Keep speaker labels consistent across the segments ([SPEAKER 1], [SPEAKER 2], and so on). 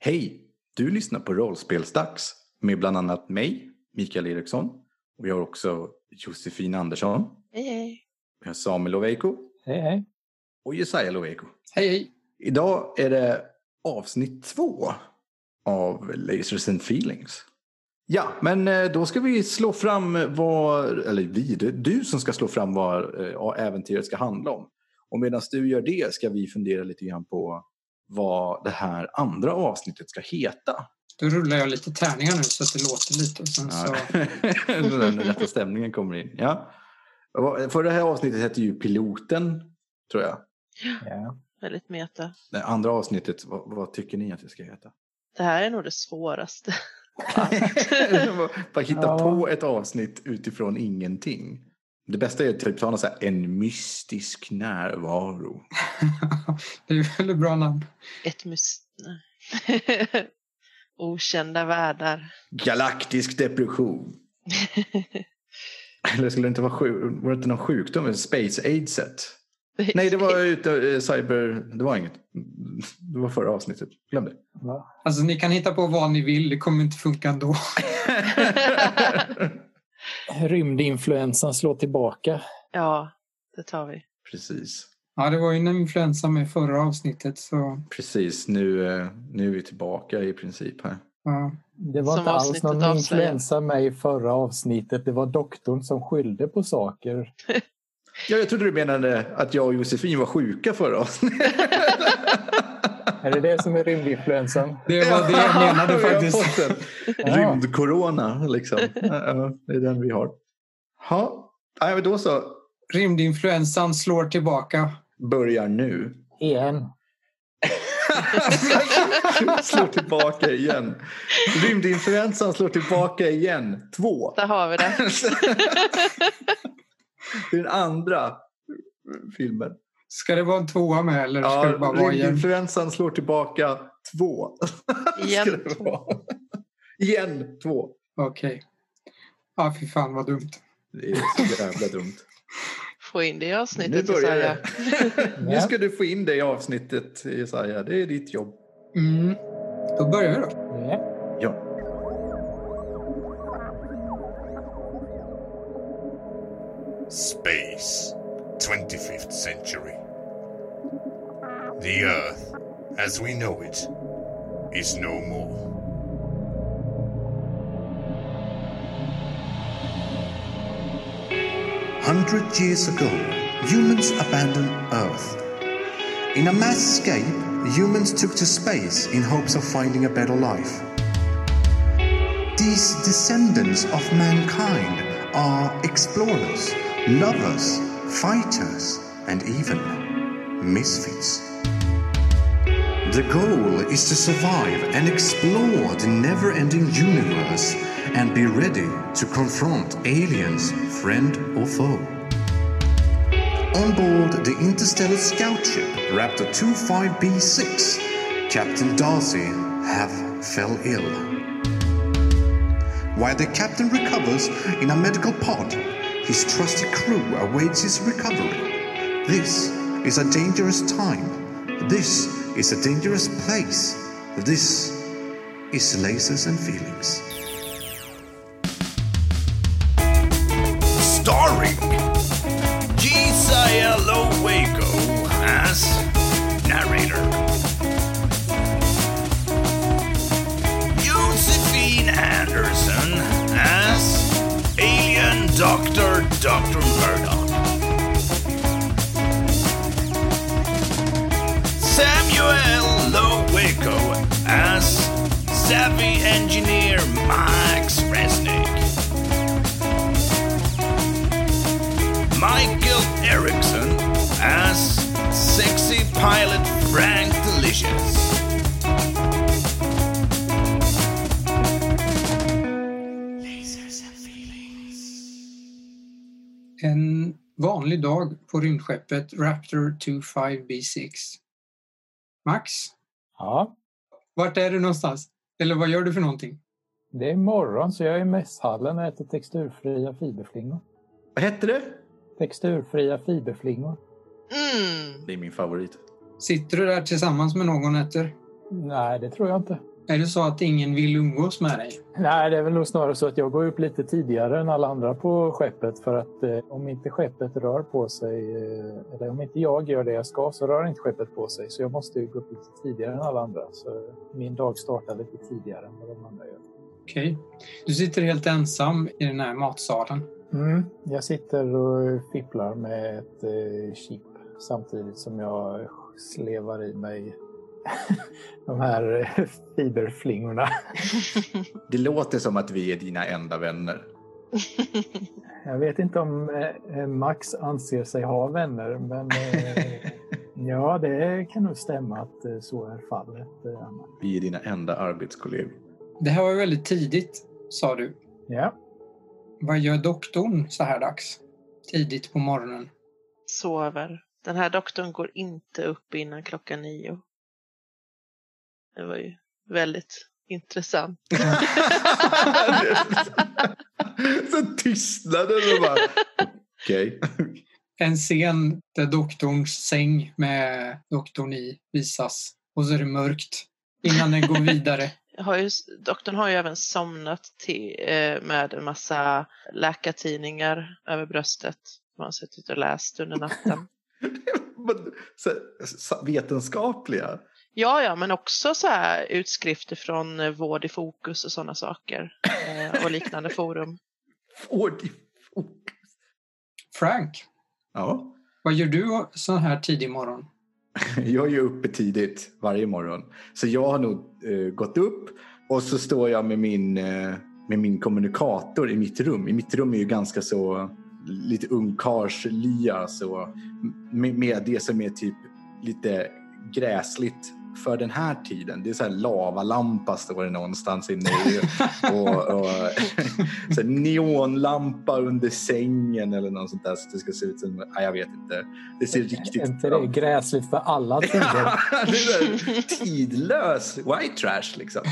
[SPEAKER 1] Hej! Du lyssnar på Rollspelsdags med bland annat mig, Mikael Eriksson. Och vi har också Josefin Andersson.
[SPEAKER 2] Hej, hej.
[SPEAKER 1] Vi har Samuel Loveiko
[SPEAKER 3] Hej, hej.
[SPEAKER 1] och Jesaja Loveiko.
[SPEAKER 4] Hej, hej.
[SPEAKER 1] Idag är det avsnitt två av Lasers and Feelings. Ja, men eh, då ska vi slå fram vad, eller vi, det är du som ska slå fram vad eh, äventyret ska handla om. Och medan du gör det ska vi fundera lite grann på vad det här andra avsnittet ska heta.
[SPEAKER 4] Då rullar jag lite tärningar nu så att det låter lite. Och sen så,
[SPEAKER 1] Så den rätta stämningen kommer in. Ja. Vad- För det här avsnittet hette ju piloten, tror jag.
[SPEAKER 3] Ja.
[SPEAKER 2] Väldigt meta.
[SPEAKER 1] Det andra avsnittet, vad, vad tycker ni att det ska heta?
[SPEAKER 2] Det här är nog det svåraste.
[SPEAKER 1] Bara hitta
[SPEAKER 3] Ja.
[SPEAKER 1] på ett avsnitt utifrån ingenting. Det bästa är typ sådana så här, en mystisk närvaro.
[SPEAKER 4] det är väl ett bra namn.
[SPEAKER 2] Ett mys... nej. Okända världar.
[SPEAKER 1] Galaktisk depression. Eller skulle det inte vara sjuk, var det inte någon sjukdom? Space aidset? Nej, det var ute, eh, cyber... Det var inget. Det var förra avsnittet. Glöm det.
[SPEAKER 3] Va?
[SPEAKER 4] Alltså ni kan hitta på vad ni vill, det kommer inte funka ändå.
[SPEAKER 3] Rymdinfluensan slår tillbaka.
[SPEAKER 2] Ja, det tar vi.
[SPEAKER 1] precis,
[SPEAKER 4] Ja, det var ju en influensa med förra avsnittet så
[SPEAKER 1] precis. Nu, eh, nu är vi tillbaka i princip här.
[SPEAKER 4] ja.
[SPEAKER 3] Det var
[SPEAKER 2] Som
[SPEAKER 3] inte alls
[SPEAKER 2] avsnittet
[SPEAKER 3] någon
[SPEAKER 2] avslöjar.
[SPEAKER 3] influensa med i förra avsnittet. Det var doktorn som skyllde på saker.
[SPEAKER 1] Ja, jag trodde du menade att jag och Josefin var sjuka förra avsnittet.
[SPEAKER 3] Är det det som är rymdinfluensan?
[SPEAKER 4] det var det jag menade
[SPEAKER 1] Vi har
[SPEAKER 4] faktiskt.
[SPEAKER 1] fått en
[SPEAKER 3] Ja.
[SPEAKER 1] Rymdcorona, liksom. Ja, ja, Det är den vi har. Ja, nej, men då så.
[SPEAKER 4] Rymdinfluensan slår tillbaka.
[SPEAKER 1] Börjar nu.
[SPEAKER 3] Igen.
[SPEAKER 1] slår tillbaka igen. Rymdinfluensan slår tillbaka igen. Två.
[SPEAKER 2] Där har vi det.
[SPEAKER 1] Det är den andra filmen.
[SPEAKER 4] Ska det vara en tvåa med eller ska det bara vara igen?
[SPEAKER 1] rymdinfluensan slår tillbaka två. Ska
[SPEAKER 2] Igen.
[SPEAKER 1] det vara. igen två.
[SPEAKER 4] Okej. Ja, fy fan vad dumt.
[SPEAKER 1] Det är så jävla dumt.
[SPEAKER 2] Få in det typ i
[SPEAKER 1] Nu
[SPEAKER 2] avsnittet.
[SPEAKER 1] börjar
[SPEAKER 2] Jesaja.
[SPEAKER 1] det. nu ska du få in det i avsnittet, Jesaja. Det är ditt jobb.
[SPEAKER 4] Mm. Då börjar vi då.
[SPEAKER 3] Ja.
[SPEAKER 1] Ja.
[SPEAKER 5] Space, 25th century. The Earth, as we know it, is no more.
[SPEAKER 6] Hundred years ago, humans abandoned Earth. In a mass escape, humans took to space in hopes of finding a better life. These descendants of mankind are explorers, lovers, fighters, and even misfits. The goal is to survive and explore the never ending universe and be ready to confront aliens, friend or foe. On board the interstellar scout ship Raptor 25B6, Captain Darcy have fell ill. While the captain recovers in a medical pod, his trusted crew awaits his recovery. This is a dangerous time. This is a dangerous place. This is lasers and feelings.
[SPEAKER 5] Starring Jesiah Lowago as narrator, Josephine Anderson as alien doctor Dr. Murdoch. Samuel Lowico as savvy engineer Max Resnick. Michael Erickson as sexy pilot Frank Delicious.
[SPEAKER 4] En vanlig dag på rymdskeppet Raptor 25B6. Max,
[SPEAKER 3] ja.
[SPEAKER 4] vart är du någonstans? Eller vad gör du för någonting?
[SPEAKER 3] Det är morgon så jag är i mässhallen och äter texturfria fiberflingor.
[SPEAKER 1] Vad hette det?
[SPEAKER 3] Texturfria fiberflingor.
[SPEAKER 2] Mm.
[SPEAKER 1] Det är min favorit.
[SPEAKER 4] Sitter du där tillsammans med någon äter?
[SPEAKER 3] Nej, det tror jag inte.
[SPEAKER 4] Är det så att ingen vill umgås med dig?
[SPEAKER 3] Nej, det är väl nog snarare så att jag går upp lite tidigare än alla andra på skeppet för att eh, om inte skeppet rör på sig, eh, eller om inte jag gör det jag ska så rör inte skeppet på sig. Så jag måste ju gå upp lite tidigare än alla andra. Så min dag startar lite tidigare än vad de andra gör.
[SPEAKER 4] Okej. Du sitter helt ensam i den här matsalen.
[SPEAKER 3] Mm, jag sitter och fipplar med ett eh, chip samtidigt som jag slevar i mig de här eh, fiberflingorna.
[SPEAKER 1] Det låter som att vi är dina enda vänner.
[SPEAKER 3] Jag vet inte om eh, Max anser sig ha vänner, men eh, ja, det kan nog stämma att eh, så är fallet. eh, Anna.
[SPEAKER 1] Vi är dina enda arbetskollegor.
[SPEAKER 4] Det här var ju väldigt tidigt, sa du.
[SPEAKER 3] Ja,
[SPEAKER 4] Vad gör doktorn så här dags? Tidigt på morgonen.
[SPEAKER 2] Sover. Den här doktorn går inte upp innan klockan nio. Det var ju väldigt intressant.
[SPEAKER 1] Så tystnaden och bara... Okej.
[SPEAKER 4] En scen där doktorns säng med doktorn i visas. Och så är det mörkt. Innan den går vidare.
[SPEAKER 2] Jag har ju, doktorn har ju även somnat till, eh, med en massa läkartidningar över bröstet. som han har suttit och läst under natten.
[SPEAKER 1] Men så, så, vetenskapliga?
[SPEAKER 2] Ja, ja, men också så här utskrifter från eh, Vård i fokus och sådana saker. Eh, och liknande forum.
[SPEAKER 1] Får de fokus?
[SPEAKER 4] Frank,
[SPEAKER 1] Ja.
[SPEAKER 4] vad gör du så här tidig morgon?
[SPEAKER 1] Jag är ju uppe tidigt varje morgon. Så jag har nog eh, gått upp och så står jag med min, eh, med min kommunikator i mitt rum. I mitt rum är ju ganska så lite ungkarlslia. Så med, med det som är typ lite gräsligt för den här tiden. Det är så här lavalampa står det någonstans inne i. Och, och så här neonlampa under sängen eller något sånt där. Så det ska se ut som, nej jag vet inte. Det ser riktigt...
[SPEAKER 3] är inte det gräsligt för alla tider?
[SPEAKER 1] Ja, det är så här tidlös white trash liksom.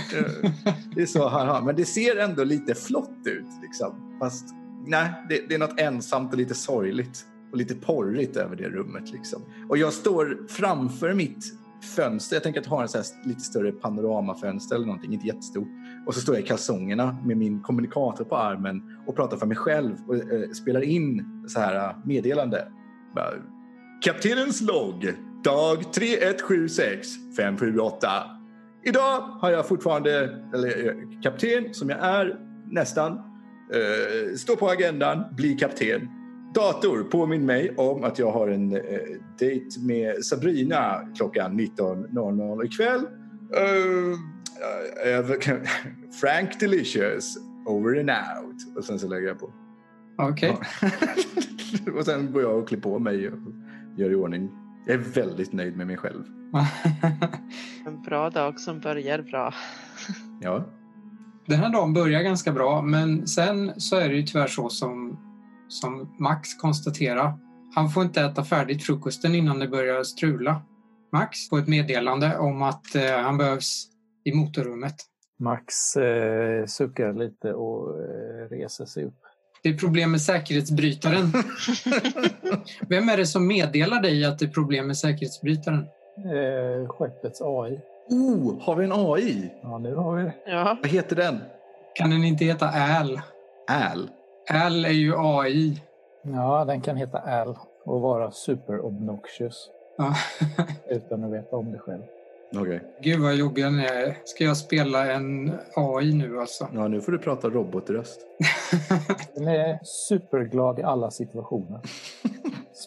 [SPEAKER 1] Det är så han har. Men det ser ändå lite flott ut liksom. Fast nej, det, det är något ensamt och lite sorgligt och lite porrigt över det rummet liksom. Och jag står framför mitt fönster. Jag tänker att ha en så här lite större panoramafönster eller någonting, inte jättestort. Och så står jag i kalsongerna med min kommunikator på armen och pratar för mig själv och eh, spelar in så här eh, meddelande. Bara, Kaptenens logg, dag 3176 578. Idag har jag fortfarande, eller eh, kapten som jag är nästan, eh, står på agendan, bli kapten. Dator, påminn mig om att jag har en eh, dejt med Sabrina klockan 19.00 ikväll. Eh, över- Frank Delicious, over and out. Och sen så lägger jag på.
[SPEAKER 4] Okej.
[SPEAKER 1] Ja. och sen går jag och klär på mig och gör i ordning. Jag är väldigt nöjd med mig själv.
[SPEAKER 2] En bra dag som börjar bra.
[SPEAKER 1] Ja.
[SPEAKER 4] Den här dagen börjar ganska bra, men sen så är det ju tyvärr så som, som Max konstaterar. Han får inte äta färdigt frukosten innan det börjar strula. Max får ett meddelande om att eh, han behövs i motorrummet.
[SPEAKER 3] Max eh, suckar lite och eh, reser sig upp.
[SPEAKER 4] Det är problem med säkerhetsbrytaren. Vem är det som meddelar dig att det är problem med säkerhetsbrytaren?
[SPEAKER 3] Eh, skeppets AI.
[SPEAKER 1] Oh, har vi en AI?
[SPEAKER 3] Ja, nu har vi det.
[SPEAKER 2] Ja,
[SPEAKER 1] Vad heter den?
[SPEAKER 4] Kan den inte heta Al?
[SPEAKER 1] Al.
[SPEAKER 4] Al är ju AI.
[SPEAKER 3] Ja, den kan heta Al och vara super obnoxious
[SPEAKER 4] Ja.
[SPEAKER 3] utan att veta om det själv.
[SPEAKER 1] Okej.
[SPEAKER 4] Gud vad jobbig den är. Ska jag spela en AI nu alltså?
[SPEAKER 1] Ja, nu får du prata robotröst.
[SPEAKER 3] Den är superglad i alla situationer.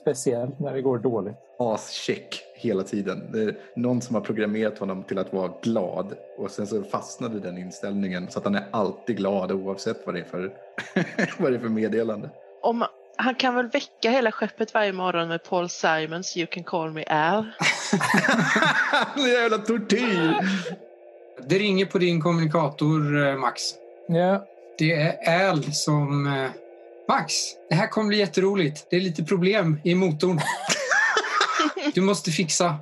[SPEAKER 3] Speciellt när det går dåligt.
[SPEAKER 1] Ascheck hela tiden. Det är någon som har programmerat honom till att vara glad och sen så fastnade den inställningen så att han är alltid glad oavsett vad det är för, vad det är för meddelande.
[SPEAKER 2] om, han kan väl väcka hela skeppet varje morgon med Paul Simons You can call me Al.
[SPEAKER 1] Jävla tortyr!
[SPEAKER 4] Det ringer på din kommunikator, eh, Max.
[SPEAKER 3] Ja,
[SPEAKER 4] Det är Al som... eh, Max, det här kommer bli jätteroligt. Det är lite problem i motorn. Du måste fixa.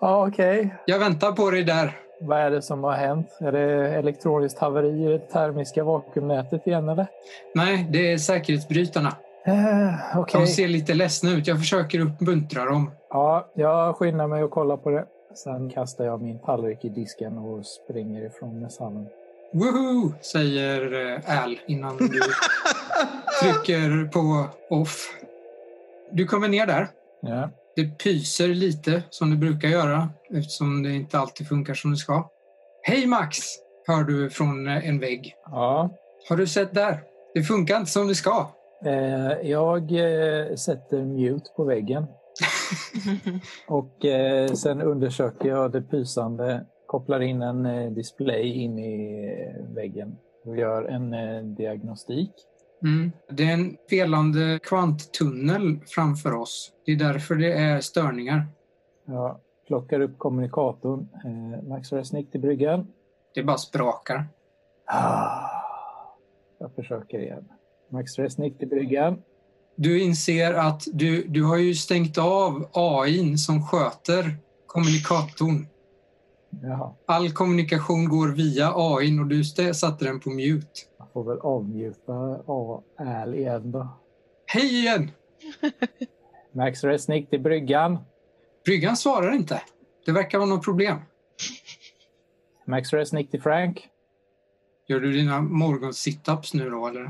[SPEAKER 3] ja okej.
[SPEAKER 4] Jag väntar på dig där.
[SPEAKER 3] Vad är det som har hänt? Är det elektroniskt haveri i det termiska vakuumnätet igen eller?
[SPEAKER 4] Nej, det är säkerhetsbrytarna.
[SPEAKER 3] Eh, okej.
[SPEAKER 4] De ser lite ledsna ut. Jag försöker uppmuntra dem.
[SPEAKER 3] Ja, jag skyndar mig och kollar på det. Sen kastar jag min tallrik i disken och springer ifrån mässhallen.
[SPEAKER 4] Woohoo! Säger eh, Al innan du trycker på off. Du kommer ner där.
[SPEAKER 3] Ja.
[SPEAKER 4] Det pyser lite som det brukar göra eftersom det inte alltid funkar som det ska. Hej Max! Hör du från eh, en vägg.
[SPEAKER 3] ja.
[SPEAKER 4] Har du sett där? Det funkar inte som det ska.
[SPEAKER 3] Eh, jag eh, sätter mute på väggen och eh, sen undersöker jag det pysande. Kopplar in en eh, display in i eh, väggen och gör en eh, diagnostik.
[SPEAKER 4] Mm. Det är en felande kvanttunnel framför oss. Det är därför det är störningar.
[SPEAKER 3] Jag plockar upp kommunikatorn. Eh, Max Resnick till bryggan. Ah,
[SPEAKER 4] Det bara sprakar.
[SPEAKER 3] Jag försöker igen. Max Resnick till bryggan.
[SPEAKER 4] Du inser att du, du har ju stängt av AIn som sköter kommunikatorn.
[SPEAKER 3] Jaha,
[SPEAKER 4] All kommunikation går via AIn och du stä- satte den på mute.
[SPEAKER 3] jag får väl avmjuta AL igen då.
[SPEAKER 4] Hej igen!
[SPEAKER 3] Max Resnick till bryggan.
[SPEAKER 4] Bryggan svarar inte. Det verkar vara något problem.
[SPEAKER 3] Max Resnick till Frank.
[SPEAKER 4] Gör du dina morgonsitups nu då eller?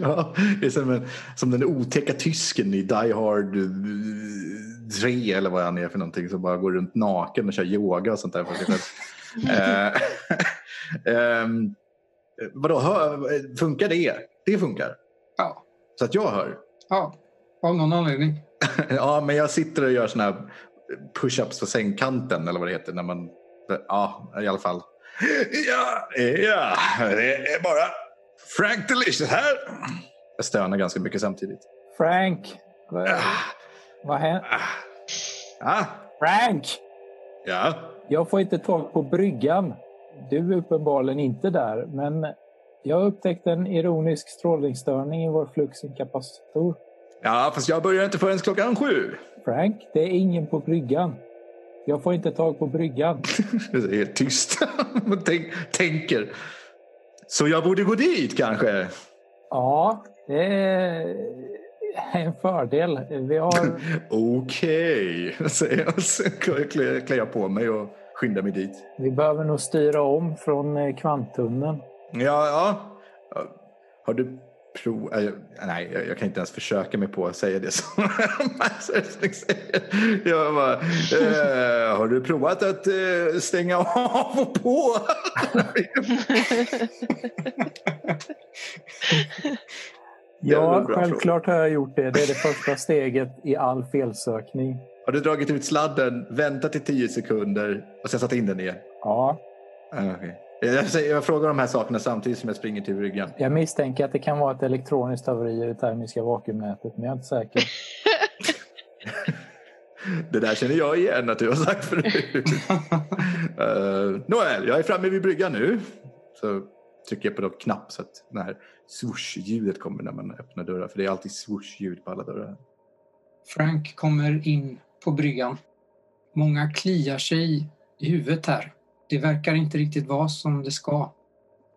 [SPEAKER 1] ja, det är som, en, som den otäcka tysken i Die Hard eh, 3 eller vad han är för någonting som bara går runt naken och kör yoga och sånt där för sig själv. Eh, ehm, vadå, hör, funkar det? Det funkar.
[SPEAKER 4] Ja.
[SPEAKER 1] Så att jag hör.
[SPEAKER 4] Ja, av någon anledning.
[SPEAKER 1] Ja, men jag sitter och gör såna här push-ups på sängkanten eller vad det heter. När man, ja, i alla fall. Ja, ja, det är bara Frank Delicious här. Jag stönar ganska mycket samtidigt.
[SPEAKER 3] Frank! Vad, vad händer?
[SPEAKER 1] Ah,
[SPEAKER 3] Frank!
[SPEAKER 1] ja,
[SPEAKER 3] Jag får inte tag på bryggan. Du är uppenbarligen inte där, men jag upptäckte en ironisk strålningsstörning i vår fluxinkapacitor.
[SPEAKER 1] ja, fast jag börjar inte förrän klockan sju.
[SPEAKER 3] Frank, det är ingen på bryggan. Jag får inte tag på bryggan.
[SPEAKER 1] Det är helt tyst. Man tänk, tänker. Så jag borde gå dit kanske?
[SPEAKER 3] Ja, det är en fördel. Vi har...
[SPEAKER 1] Okej, säger jag. Så klär klär jag på mig och skyndar mig dit.
[SPEAKER 3] Vi behöver nog styra om från eh, kvanttunneln.
[SPEAKER 1] Ja, ja. Har du prov... äh, jag- Nej, jag, jag kan inte ens försöka mig på att säga det som Mats Östling säger. Jag bara, eh, har du provat att eh, stänga av och på? Det är
[SPEAKER 3] Ja,
[SPEAKER 1] en bra
[SPEAKER 3] självklart har jag gjort det. Det är det första steget i all felsökning.
[SPEAKER 1] har du dragit ut sladden, väntat i tio sekunder och sen satt in den igen?
[SPEAKER 3] Ja,
[SPEAKER 1] Ah, okej. jag, säger, jag frågar de här sakerna samtidigt som jag springer till bryggan.
[SPEAKER 3] jag misstänker att det kan vara ett elektroniskt haveri i det termiska vakuumnätet, men jag är inte säker.
[SPEAKER 1] Det där känner jag igen att du har sagt förut. uh, Nåväl, jag är framme vid bryggan nu. Så trycker jag på någon knapp så att det här swoosh-ljudet kommer när man öppnar dörrar. För det är alltid swoosh-ljud på alla dörrar.
[SPEAKER 4] Frank kommer in på bryggan. Många kliar sig i huvudet här. Det verkar inte riktigt vara som det ska.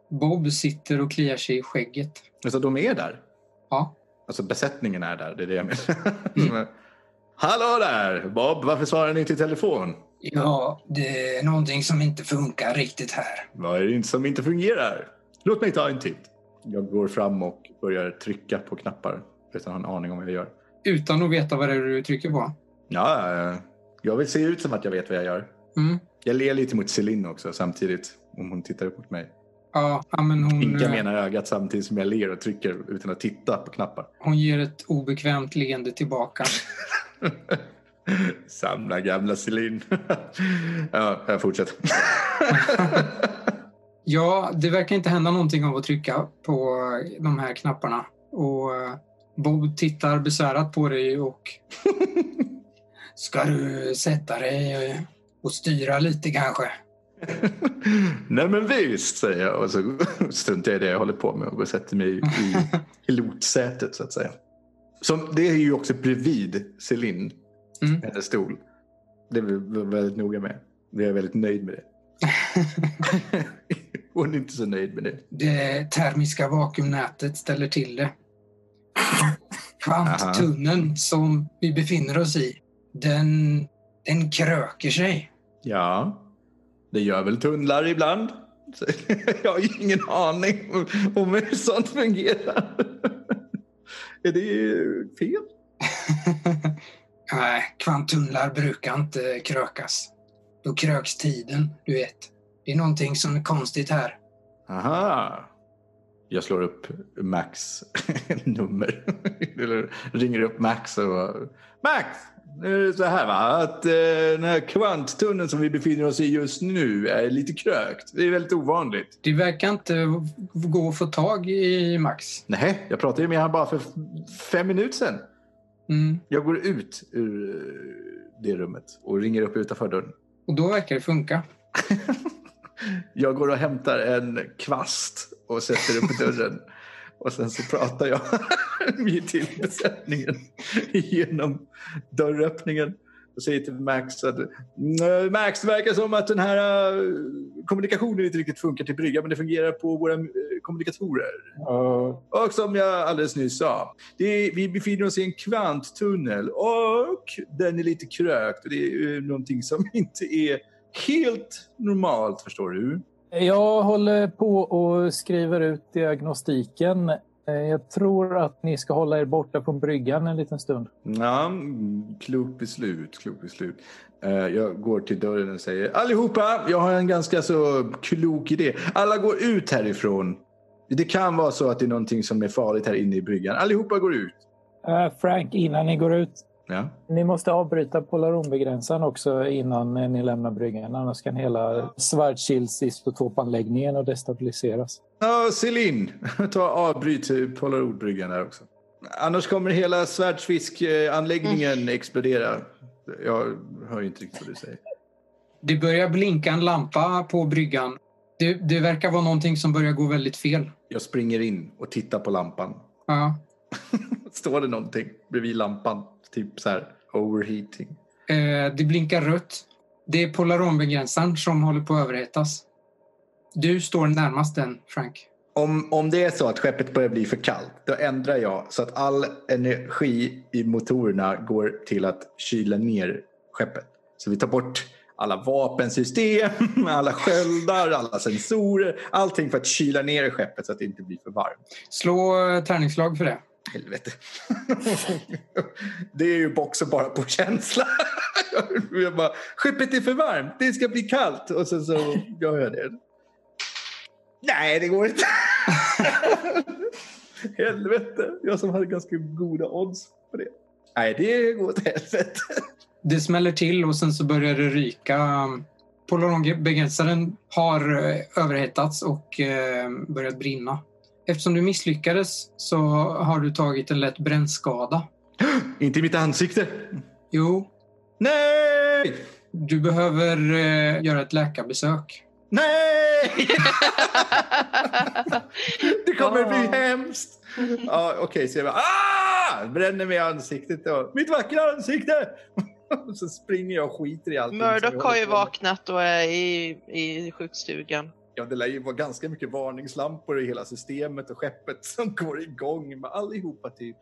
[SPEAKER 4] Bob sitter och kliar sig i skägget.
[SPEAKER 1] Alltså de är där.
[SPEAKER 4] Ja,
[SPEAKER 1] Alltså besättningen är där, det är det jag menar. Hallå där! Bob, varför svarar ni inte i telefon?
[SPEAKER 4] ja det är någonting som inte funkar riktigt här.
[SPEAKER 1] Vad är det inte som inte fungerar? Låt mig ta en titt. Jag går fram och börjar trycka på knappar utan att ha en aning om vad jag gör.
[SPEAKER 4] Utan att veta vad det är du trycker på.
[SPEAKER 1] Ja, ja, ja. jag vill se ut som att jag vet vad jag gör.
[SPEAKER 4] Mm.
[SPEAKER 1] Jag ler lite mot Celine också samtidigt. Om hon tittar upp mot mig.
[SPEAKER 4] Ja, ja, men hon,
[SPEAKER 1] Vinka med
[SPEAKER 4] eh,
[SPEAKER 1] ena ögat samtidigt som jag ler och trycker utan att titta på knappar.
[SPEAKER 4] hon ger ett obekvämt leende tillbaka.
[SPEAKER 1] Samla gamla Celine. ja, jag fortsätter.
[SPEAKER 4] Ja, det verkar inte hända någonting av att trycka på de här knapparna. Och eh, Bob tittar besvärat på dig och... Ska du sätta dig eh, och styra lite kanske?
[SPEAKER 1] Nej men visst, säger jag. Och så struntar jag i det jag håller på med och går och sätter mig i pilotsätet så att säga. Som, det är ju också bredvid Celine,
[SPEAKER 4] Mm.
[SPEAKER 1] hennes stol. Det är vi väldigt noga med. Jag är väldigt nöjd med det. Hon är inte så nöjd med det.
[SPEAKER 4] Det termiska vakuumnätet ställer till det. Kvanttunneln som vi befinner oss i, den Den kröker sig.
[SPEAKER 1] Ja, det gör väl tunnlar ibland. Så Jag har ju ingen aning om- om hur sånt fungerar. Är det fel?
[SPEAKER 4] Nej, kvantumlar brukar inte krökas. Då kröks tiden, du vet. Det är någonting som är konstigt här.
[SPEAKER 1] Aha. Jag slår upp Max nummer. Eller ringer upp Max och bara, Max! Nu är det så här va, att eh, den här kvanttunneln som vi befinner oss i just nu är lite krökt. Det är väldigt ovanligt.
[SPEAKER 4] Det verkar inte gå att få tag i Max.
[SPEAKER 1] Nej, jag pratade ju med honom bara för f- fem minuter sedan.
[SPEAKER 4] Mm.
[SPEAKER 1] Jag går ut ur eh, det rummet och ringer upp utanför dörren.
[SPEAKER 4] Och då verkar det funka.
[SPEAKER 1] Jag går och hämtar en kvast och sätter upp dörren. Och sen så pratar jag med till besättningen genom dörröppningen. Och säger till Max att "Mm, Max, det verkar som att den här eh, kommunikationen inte riktigt funkar till brygga, men det fungerar på våra eh, kommunikatorer.
[SPEAKER 3] Ja,
[SPEAKER 1] Och som jag alldeles nyss sa, det är, vi befinner oss i en kvanttunnel och den är lite krökt. Och det är eh, någonting som inte är helt normalt, förstår du.
[SPEAKER 3] Jag håller på och skriver ut diagnostiken. Eh, Jag tror att ni ska hålla er borta från bryggan en liten stund.
[SPEAKER 1] Ja, mm, klokt beslut, klokt beslut. Eh, Jag går till dörren och säger allihopa, jag har en ganska så klok idé. Alla går ut härifrån. Det kan vara så att det är någonting som är farligt här inne i bryggan. Allihopa går ut.
[SPEAKER 3] Eh, Frank, innan ni går ut.
[SPEAKER 1] Ja.
[SPEAKER 3] Ni måste avbryta polaronbegränsaren också innan eh, ni lämnar bryggan. Annars kan hela Schwarzschilds isotopanläggningen och destabiliseras.
[SPEAKER 1] Ja, Celine, ta avbryt Polaroidbryggan där också. Annars kommer hela svärdsfiskanläggningen explodera. Jag hör ju inte riktigt vad du säger.
[SPEAKER 4] Det börjar blinka en lampa på bryggan. Det, det verkar vara någonting som börjar gå väldigt fel.
[SPEAKER 1] Jag springer in och tittar på lampan.
[SPEAKER 4] Ja.
[SPEAKER 1] Står det någonting bredvid lampan? Typ så här overheating.
[SPEAKER 4] Eh, det blinkar rött. Det är polaronbegränsaren som håller på att överhettas. Du står närmast den, Frank.
[SPEAKER 1] Om, om det är så att skeppet börjar bli för kallt, då ändrar jag så att all energi i motorerna går till att kyla ner skeppet. Så vi tar bort alla vapensystem, alla sköldar, alla sensorer, allting för att kyla ner skeppet så att det inte blir för varmt.
[SPEAKER 4] Slå eh, tärningslag för det.
[SPEAKER 1] Helvete. Det är ju också bara på känsla. Jag bara, skeppet är för varmt, det ska bli kallt. Och sen så gör jag det. Nej, det går inte. Helvete, jag som hade ganska goda odds på det. Nej, det går åt helvete.
[SPEAKER 4] Det smäller till och sen så börjar det ryka. Polaronbegränsaren har eh, överhettats och eh, börjat brinna. Eftersom du misslyckades så har du tagit en lätt brännskada.
[SPEAKER 1] Inte i mitt ansikte.
[SPEAKER 4] Jo,
[SPEAKER 1] Nej!
[SPEAKER 4] du behöver eh, göra ett läkarbesök.
[SPEAKER 1] Nej! Det kommer bli hemskt. Ja, Okej, så jag bara ah! bränner mig i ansiktet. Då. Mitt vackra ansikte! Och så springer jag och skiter i allting. som jag
[SPEAKER 2] Murdoch har
[SPEAKER 1] håller
[SPEAKER 2] ju
[SPEAKER 1] på med.
[SPEAKER 2] vaknat och är i, i sjukstugan.
[SPEAKER 1] Ja, det lär ju vara ganska mycket varningslampor i hela systemet och skeppet som går igång med allihopa till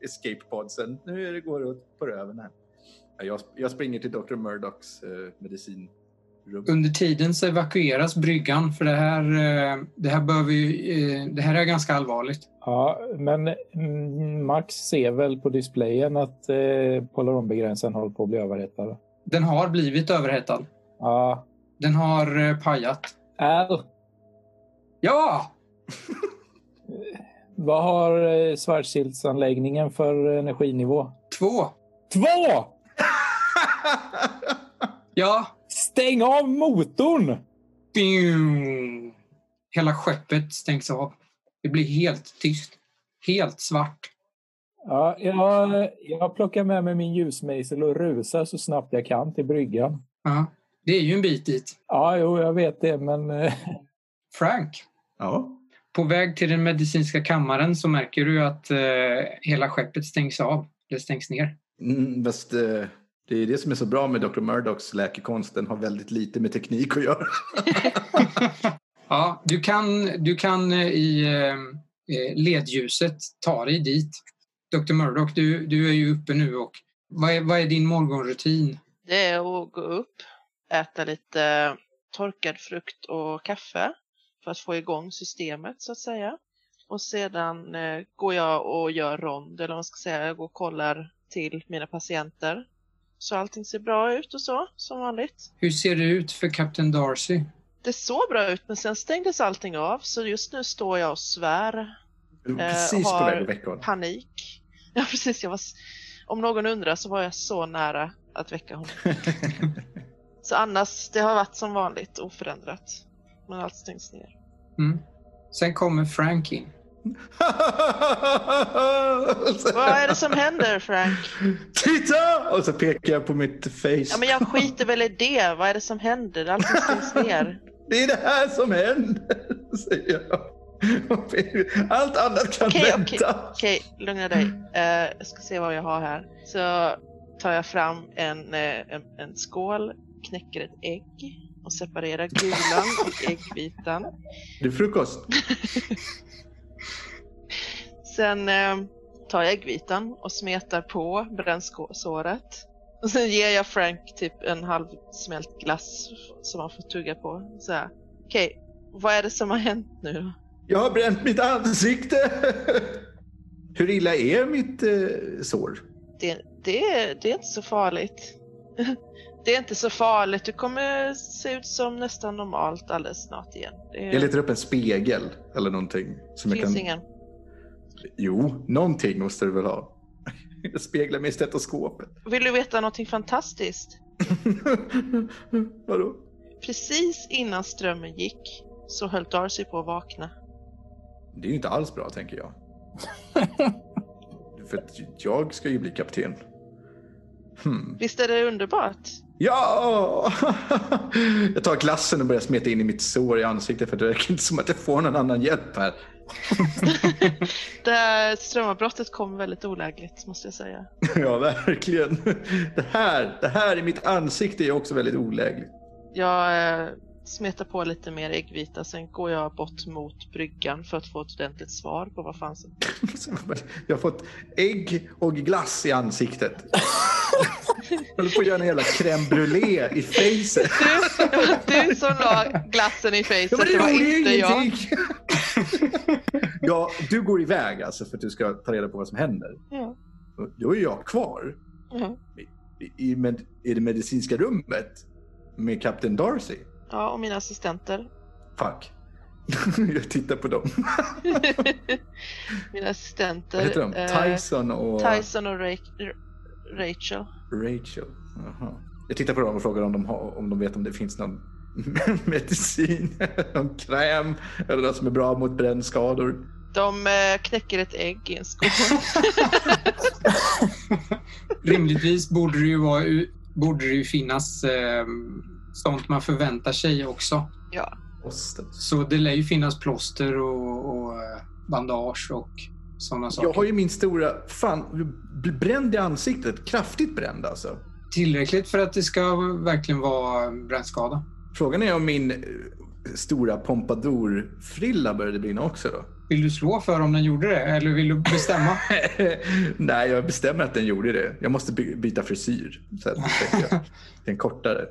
[SPEAKER 1] escape podsen. Nu är det går åt på röven här. Ja, Jag, jag springer till Dr. Murdochs eh, medicinrum.
[SPEAKER 4] Under tiden så evakueras bryggan för det här, eh, det här, behöver ju, eh, det här är ganska allvarligt.
[SPEAKER 3] Ja, men mm, Max ser väl på displayen att eh, polaronbegränsaren håller på att bli överhettad.
[SPEAKER 4] Den har blivit överhettad.
[SPEAKER 3] Ja,
[SPEAKER 4] Den har eh, pajat.
[SPEAKER 3] Al,
[SPEAKER 4] Ja!
[SPEAKER 3] vad har eh, Schwarzschildsanläggningen för eh, energinivå?
[SPEAKER 4] Två!
[SPEAKER 3] Två!
[SPEAKER 4] Ja!
[SPEAKER 3] Stäng av motorn!
[SPEAKER 4] Bing! Hela skeppet stängs av. Det blir helt tyst. Helt svart.
[SPEAKER 3] Ja, jag, jag plockar med mig min ljusmejsel och rusar så snabbt jag kan till bryggan.
[SPEAKER 4] Ja. Det är ju en bit dit.
[SPEAKER 3] Ja, jo, jag vet det, men eh,
[SPEAKER 4] Frank,
[SPEAKER 1] Ja.
[SPEAKER 4] på väg till den medicinska kammaren så märker du att eh, hela skeppet stängs av. Det stängs ner.
[SPEAKER 1] Mm, fast, eh, det är det som är så bra med Dr. Murdochs läkekonst. Den har väldigt lite med teknik att göra.
[SPEAKER 4] Ja, du kan, du kan eh, i eh, ledljuset ta dig dit. Dr Murdoch, du, du är ju uppe nu och vad är, vad är din morgonrutin?
[SPEAKER 2] Det är att gå upp, äta lite torkad frukt och kaffe för att få igång systemet så att säga. Och sedan eh, går jag och gör rond, eller vad man ska säga, jag går och kollar till mina patienter. Så allting ser bra ut och så, som vanligt.
[SPEAKER 4] Hur ser det ut för Kapten Darcy?
[SPEAKER 2] Det såg bra ut, men sen stängdes allting av, så just nu står jag och svär
[SPEAKER 1] Du var
[SPEAKER 2] Eh,
[SPEAKER 1] precis på
[SPEAKER 2] har-
[SPEAKER 1] väg att väcka honom.
[SPEAKER 2] panik. Ja, precis. Jag var, s- om någon undrar så var jag så nära att väcka honom. Så annars, det har varit som vanligt oförändrat. Men allt stängs ner.
[SPEAKER 4] Mm. Sen kommer Frank in.
[SPEAKER 2] Vad är det som händer Frank?
[SPEAKER 1] Titta! Och så pekar jag på mitt face.
[SPEAKER 2] Ja, men jag skiter väl i det. Vad är det som händer? Allting stängs ner.
[SPEAKER 1] Det är det här som händer, säger jag. Allt annat kan
[SPEAKER 2] Okej, okej,
[SPEAKER 1] vänta.
[SPEAKER 2] okej. Lugna dig. Eh, jag ska se vad jag har här. Så tar jag fram en, eh, en, en skål, knäcker ett ägg och separerar gulan och äggvitan.
[SPEAKER 1] Det är frukost.
[SPEAKER 2] Sen eh, tar jag äggvitan och smetar på brännsåret. Och sen ger jag Frank typ en halv smält glass som han får tugga på. Så här. Okej, vad är det som har hänt nu då?
[SPEAKER 1] Jag har bränt mitt ansikte. Hur illa är mitt eh, sår?
[SPEAKER 2] Det, det, det är inte så farligt. Det är inte så farligt. Du kommer se ut som nästan normalt alldeles snart igen.
[SPEAKER 1] Jag
[SPEAKER 2] Det
[SPEAKER 1] letar upp en spegel eller någonting. Som jag
[SPEAKER 2] finns
[SPEAKER 1] kan...
[SPEAKER 2] ingen.
[SPEAKER 1] Jo, någonting måste du väl ha. Jag speglar mig i stetoskopet.
[SPEAKER 2] Vill du veta någonting fantastiskt?
[SPEAKER 1] Vadå?
[SPEAKER 2] Precis innan strömmen gick så höll Darcy på att vakna.
[SPEAKER 1] Det är ju inte alls bra, tänker jag. För att jag ska ju bli kapten. Hmm.
[SPEAKER 2] Visst är det underbart?
[SPEAKER 1] Ja! Jag tar glassen och börjar smeta in i mitt sår i ansiktet för det verkar inte som att jag får någon annan hjälp här.
[SPEAKER 2] Det här eh, strömavbrottet kom väldigt olägligt måste jag säga.
[SPEAKER 1] Ja, verkligen. Det här, det här i mitt ansikte är också väldigt olägligt.
[SPEAKER 2] Jag eh, smetar på lite mer äggvita, sen går jag bort mot bryggan för att få ett ordentligt svar på vad fan som...
[SPEAKER 1] Jag har fått ägg och glass i ansiktet. Jag håller på att göra en jävla crème brûlée i facet.
[SPEAKER 2] Du, det var du som la glassen i facet,
[SPEAKER 1] Ja, men det
[SPEAKER 2] var
[SPEAKER 1] roliga är
[SPEAKER 2] inte
[SPEAKER 1] ju
[SPEAKER 2] jag.
[SPEAKER 1] ingenting! Ja, du går iväg alltså för att du ska ta reda på vad som händer.
[SPEAKER 2] Ja,
[SPEAKER 1] Och Då är jag kvar
[SPEAKER 2] ja.
[SPEAKER 1] i, i, med, i det medicinska rummet med kapten Darcy.
[SPEAKER 2] ja, och mina assistenter.
[SPEAKER 1] Fuck. Jag tittar på
[SPEAKER 2] Eh,
[SPEAKER 1] dem.
[SPEAKER 2] mina assistenter.
[SPEAKER 1] Vad heter de?
[SPEAKER 2] eh,
[SPEAKER 1] Tyson och...
[SPEAKER 2] Tyson och Ra- Ra- Rachel.
[SPEAKER 1] Rachel. Aha. Jag tittar på dem och frågar om de, har, om de vet om det finns någon medicin, någon kräm eller något som är bra mot brännskador.
[SPEAKER 2] De eh, knäcker ett ägg i en skål.
[SPEAKER 4] Rimligtvis borde det ju, vara, borde det ju finnas eh, sånt man förväntar sig också.
[SPEAKER 2] ja,
[SPEAKER 1] Posten.
[SPEAKER 4] Så det lär ju finnas plåster och, och eh, bandage och sådana saker.
[SPEAKER 1] Jag har ju min stora... Fan, bl- bränd i ansiktet. Kraftigt bränd alltså.
[SPEAKER 4] Tillräckligt för att det ska verkligen vara brännskada.
[SPEAKER 1] Frågan är om min eh, stora pompadourfrilla började brinna också då.
[SPEAKER 4] Vill du slå för om den gjorde det eller vill du bestämma?
[SPEAKER 1] Nej, jag bestämmer att den gjorde det. Jag måste by- byta frisyr. Så att, tänker jag. Den kortare.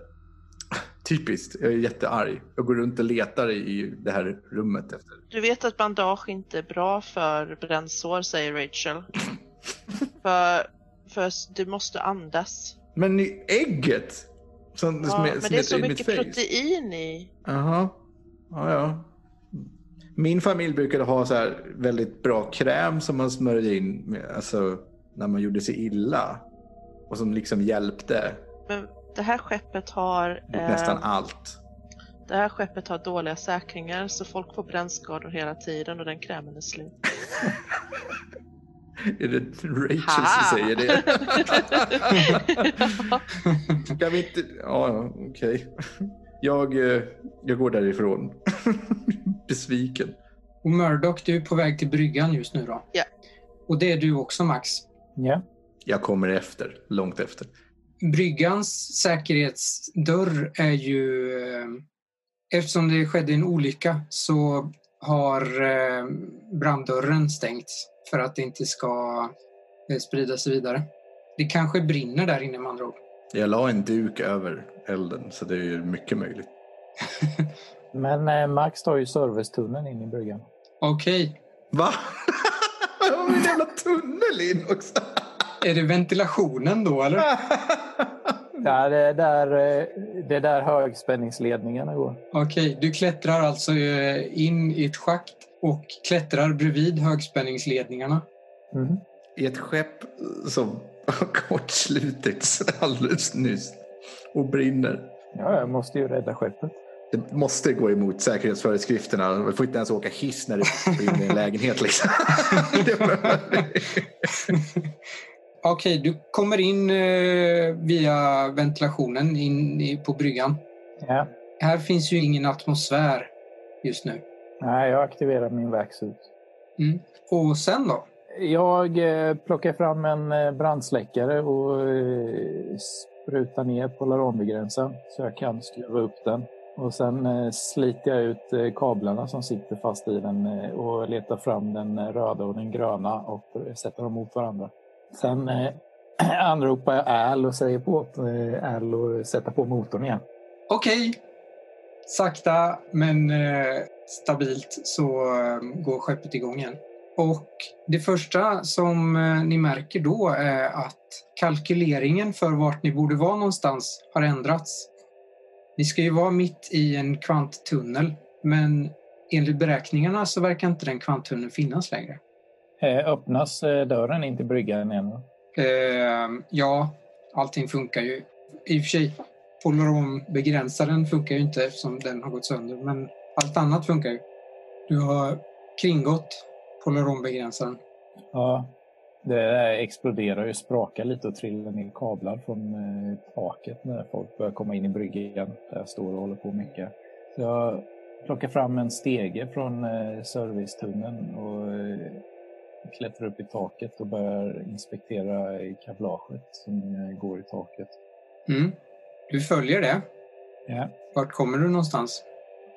[SPEAKER 1] Typiskt. Jag är jättearg. Jag går runt och letar i det här rummet efter.
[SPEAKER 2] Du vet att bandage inte är bra för brännsår, säger Rachel. för, för s- du måste andas.
[SPEAKER 1] Men i ägget! Som,
[SPEAKER 2] Ja,
[SPEAKER 1] som är,
[SPEAKER 2] men
[SPEAKER 1] som
[SPEAKER 2] det är så
[SPEAKER 1] i mitt
[SPEAKER 2] mycket
[SPEAKER 1] face.
[SPEAKER 2] protein i.
[SPEAKER 1] Jaha. Ja, ja. Min familj brukade ha så här väldigt bra kräm som man smörjde in med, alltså, när man gjorde sig illa. Och som liksom hjälpte
[SPEAKER 2] Men det här skeppet har...
[SPEAKER 1] mot
[SPEAKER 2] eh,
[SPEAKER 1] nästan allt.
[SPEAKER 2] det här skeppet har dåliga säkringar så folk får brännskador hela tiden och den krämen är slut.
[SPEAKER 1] Är det Rachel
[SPEAKER 2] Ha!
[SPEAKER 1] som säger det? Kan vi inte... Ja, ja, okej. Jag, eh, jag går därifrån. Besviken.
[SPEAKER 4] Och Murdoch, du är på väg till bryggan just nu då?
[SPEAKER 2] Ja.
[SPEAKER 4] Och det är du också Max?
[SPEAKER 3] Ja.
[SPEAKER 1] Jag kommer efter, långt efter.
[SPEAKER 4] Bryggans säkerhetsdörr är ju... eh, Eftersom det skedde en olycka så har eh, branddörren stängts för att det inte ska eh, sprida sig vidare. Det kanske brinner där inne med andra ord.
[SPEAKER 1] Jag la en duk över elden så det är ju mycket möjligt.
[SPEAKER 3] Men eh, Max tar ju servicetunneln in i bryggan.
[SPEAKER 4] Okej.
[SPEAKER 1] Va? Jag har en jävla tunnel in också.
[SPEAKER 4] Är det ventilationen då eller?
[SPEAKER 3] Ja, det, är där, eh, det är där högspänningsledningarna går.
[SPEAKER 4] Okej, du klättrar alltså eh, in i ett schakt och klättrar bredvid högspänningsledningarna.
[SPEAKER 3] Mm.
[SPEAKER 1] I ett skepp som har kortslutits alldeles nyss och brinner.
[SPEAKER 3] Ja, jag måste ju rädda skeppet.
[SPEAKER 1] Det måste gå emot säkerhetsföreskrifterna. Man får inte ens åka hiss när det brinner i en lägenhet. Liksom. Det var-
[SPEAKER 4] Okej, du kommer in eh, via ventilationen in i, på bryggan.
[SPEAKER 3] Ja.
[SPEAKER 4] Här finns ju ingen atmosfär just nu.
[SPEAKER 3] Nej, jag aktiverar min verkshus.
[SPEAKER 4] Och sen då?
[SPEAKER 3] Jag eh, plockar fram en eh, brandsläckare och eh, sprutar ner polaronbegränsaren så jag kan skruva upp den. Och sen eh, sliter jag ut eh, kablarna som sitter fast i den eh, och letar fram den eh, röda och den gröna och eh, sätter dem mot varandra. Sen eh, anropar jag Al och säger på åt eh, Al att sätta på motorn igen.
[SPEAKER 4] Okej. Sakta men eh, stabilt så eh, går skeppet igång igen. Och det första som eh, ni märker då är att kalkyleringen för vart ni borde vara någonstans har ändrats. Ni ska ju vara mitt i en kvanttunnel men enligt beräkningarna så verkar inte den kvanttunneln finnas längre.
[SPEAKER 3] Eh, öppnas eh, dörren in till bryggan igen? va?
[SPEAKER 4] Eh, ja, allting funkar ju. I och för sig, polaronbegränsaren funkar ju inte eftersom den har gått sönder, men allt annat funkar ju. Du har kringgått polaronbegränsaren.
[SPEAKER 3] Ja, det där exploderar ju, sprakar lite och trillar ner kablar från eh, taket när folk börjar komma in i bryggan. Där jag står och håller på mycket. Så jag plockar fram en stege från eh, servicetunneln och eh, klättrar upp i taket och börjar inspektera i kablaget som eh, går i taket.
[SPEAKER 4] Mm. Du följer det.
[SPEAKER 3] Ja.
[SPEAKER 4] Vart kommer du någonstans?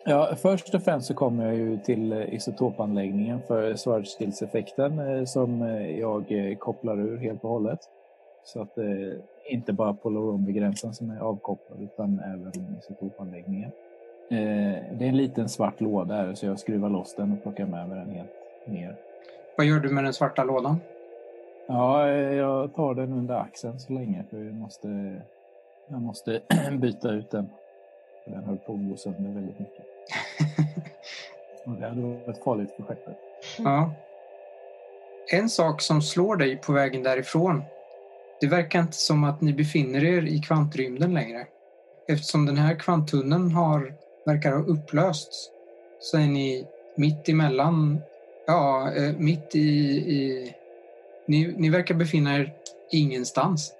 [SPEAKER 3] Ja, först och främst så kommer jag ju till eh, isotopanläggningen för Schwarzschildeffekten eh, som eh, jag eh, kopplar ur helt och hållet. Så att eh, inte bara polaronbegränsaren som är avkopplad utan även isotopanläggningen. Eh, det är en liten svart låda här så jag skruvar loss den och plockar med mig den helt ner.
[SPEAKER 4] Vad gör du med den svarta lådan?
[SPEAKER 3] Ja, eh, jag tar den under axeln så länge för jag måste, jag måste byta ut den. För Den höll på att gå sönder väldigt mycket. Och det hade varit farligt för skeppet.
[SPEAKER 4] Ja. En sak som slår dig på vägen därifrån. Det verkar inte som att ni befinner er i kvantrymden längre. Eftersom den här kvanttunneln har, verkar ha upplösts så är ni mitt emellan, ja, eh, mitt i... i ni, ni verkar befinna er ingenstans.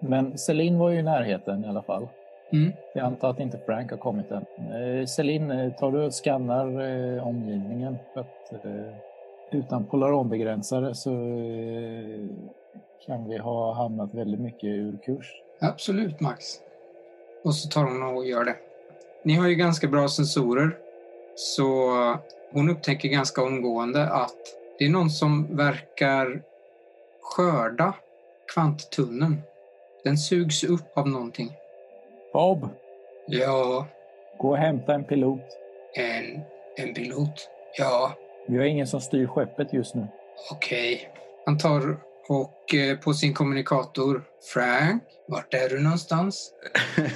[SPEAKER 3] Men Celine var ju i närheten i alla fall.
[SPEAKER 4] Mm.
[SPEAKER 3] Jag antar att inte Frank har kommit än. Eh, Celine, eh, tar du och skannar eh, omgivningen? För att, eh, utan polaronbegränsare så eh, kan vi ha hamnat väldigt mycket ur kurs.
[SPEAKER 4] Absolut, Max. Och så tar hon och gör det. Ni har ju ganska bra sensorer, så hon upptäcker ganska omgående att det är någon som verkar skörda kvanttunneln. Den sugs upp av någonting.
[SPEAKER 3] Bob,
[SPEAKER 4] Ja,
[SPEAKER 3] gå och hämta en pilot.
[SPEAKER 4] en, en pilot. Ja,
[SPEAKER 3] Vi har ingen som styr skeppet just nu.
[SPEAKER 4] okej. Han tar och eh, på sin kommunikator. Frank, vart är du någonstans?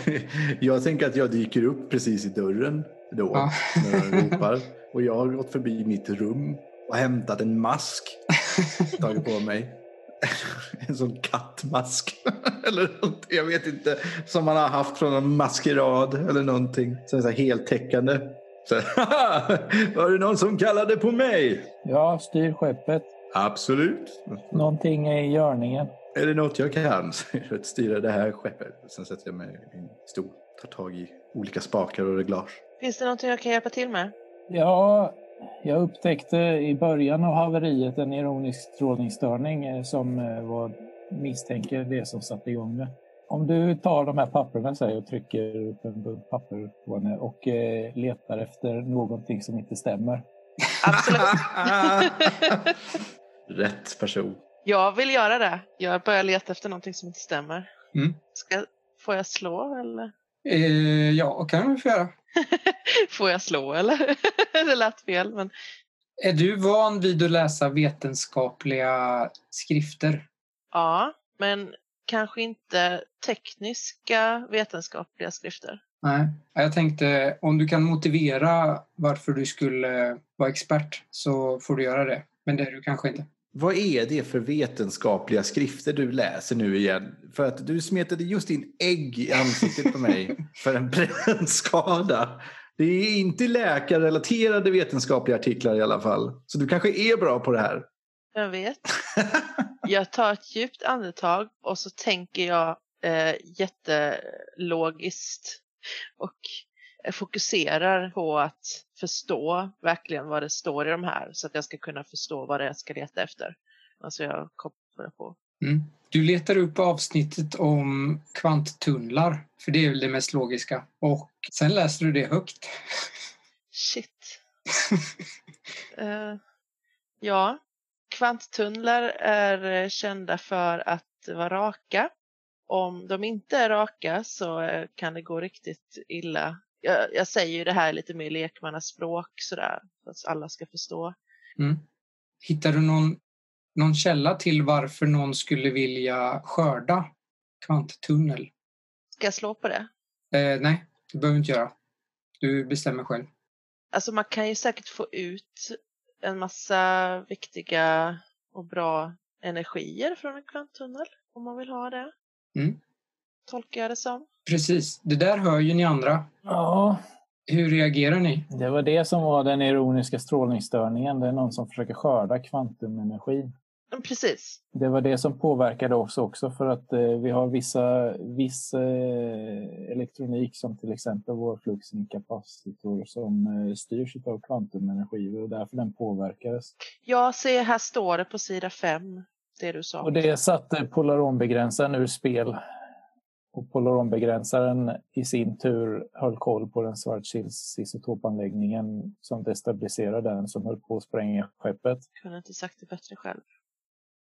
[SPEAKER 1] Jag tänker att jag dyker upp precis i dörren då
[SPEAKER 4] Ja.
[SPEAKER 1] när de ropar. Och jag har gått förbi mitt rum och hämtat en mask. Tagit på mig. En sån kattmask. Eller något, jag vet inte. Som man har haft från en maskerad eller någonting. Så en sån här heltäckande. Så, var det någon som kallade på mig?
[SPEAKER 3] Ja, styr skeppet.
[SPEAKER 1] Absolut.
[SPEAKER 3] Någonting är i görningen.
[SPEAKER 1] Är det något jag kan för att styra det här skeppet? Sen sätter jag mig i min stol, tar tag i olika spakar och reglage.
[SPEAKER 2] Finns det någonting jag kan hjälpa till med?
[SPEAKER 3] Ja, jag upptäckte i början av haveriet en ironisk strålningsstörning eh, som eh, var, misstänker det som satte igång det. Om du tar de här papperna säger jag, och trycker upp en bunt papper på henne och eh, letar efter någonting som inte stämmer.
[SPEAKER 2] Absolut.
[SPEAKER 1] Rätt person.
[SPEAKER 2] jag vill göra det. Jag börjar leta efter någonting som inte stämmer.
[SPEAKER 4] Mm.
[SPEAKER 2] Ska Får jag slå eller?
[SPEAKER 4] Eh, ja, kan du få göra.
[SPEAKER 2] Får jag slå eller? det lät fel men
[SPEAKER 4] Är du van vid att läsa vetenskapliga skrifter?
[SPEAKER 2] ja. Men kanske inte tekniska vetenskapliga skrifter.
[SPEAKER 4] Nej. Ja, Jag tänkte om du kan motivera varför du skulle vara expert så får du göra det. Men det är du kanske inte.
[SPEAKER 1] Vad är det för vetenskapliga skrifter du läser nu igen? För att du smetade just in ägg i ansiktet på mig för en brännskada. Det är inte läkarrelaterade vetenskapliga artiklar i alla fall. Så du kanske är bra på det här.
[SPEAKER 2] Vem vet? jag tar ett djupt andetag och så tänker jag eh, jättelogiskt och fokuserar på att förstå verkligen vad det står i de här så att jag ska kunna förstå vad det är jag ska leta efter. Alltså jag kopplar på.
[SPEAKER 4] Mm. Du letar upp avsnittet om kvanttunnlar, för det är väl det mest logiska. Och sen läser du det högt.
[SPEAKER 2] Shit. Eh, ja, kvanttunnlar är eh, kända för att vara raka. Om de inte är raka så eh, kan det gå riktigt illa. Jag, jag säger ju det här lite mer lekmannaspråk sådär, så att alla ska förstå.
[SPEAKER 4] Mm. Hittar du någon, någon källa till varför någon skulle vilja skörda kvanttunnel?
[SPEAKER 2] Ska jag slå på det?
[SPEAKER 4] Eh, nej, det behöver du inte göra. Du bestämmer själv.
[SPEAKER 2] Alltså man kan ju säkert få ut en massa viktiga och bra energier från en kvanttunnel om man vill ha det.
[SPEAKER 4] Mm.
[SPEAKER 2] Tolkar jag det som.
[SPEAKER 4] Precis, det där hör ju ni andra.
[SPEAKER 3] Ja,
[SPEAKER 4] Hur reagerar ni?
[SPEAKER 3] det var det som var den ironiska strålningsstörningen. Det är någon som försöker skörda kvantumenergi.
[SPEAKER 2] Men Mm, precis.
[SPEAKER 3] Det var det som påverkade oss också för att eh, vi har vissa, viss eh, elektronik som till exempel vår fluxinkapacitor som eh, styrs av kvantumenergi och därför den påverkades.
[SPEAKER 2] Ja, se här står det på sida 5, det du sa.
[SPEAKER 3] Och det satte polaronbegränsaren ur spel. Och polaronbegränsaren i sin tur höll koll på den Schwarzschilds isotopanläggningen som destabiliserade den som höll på att spränga skeppet.
[SPEAKER 2] Jag kunde inte sagt det bättre själv.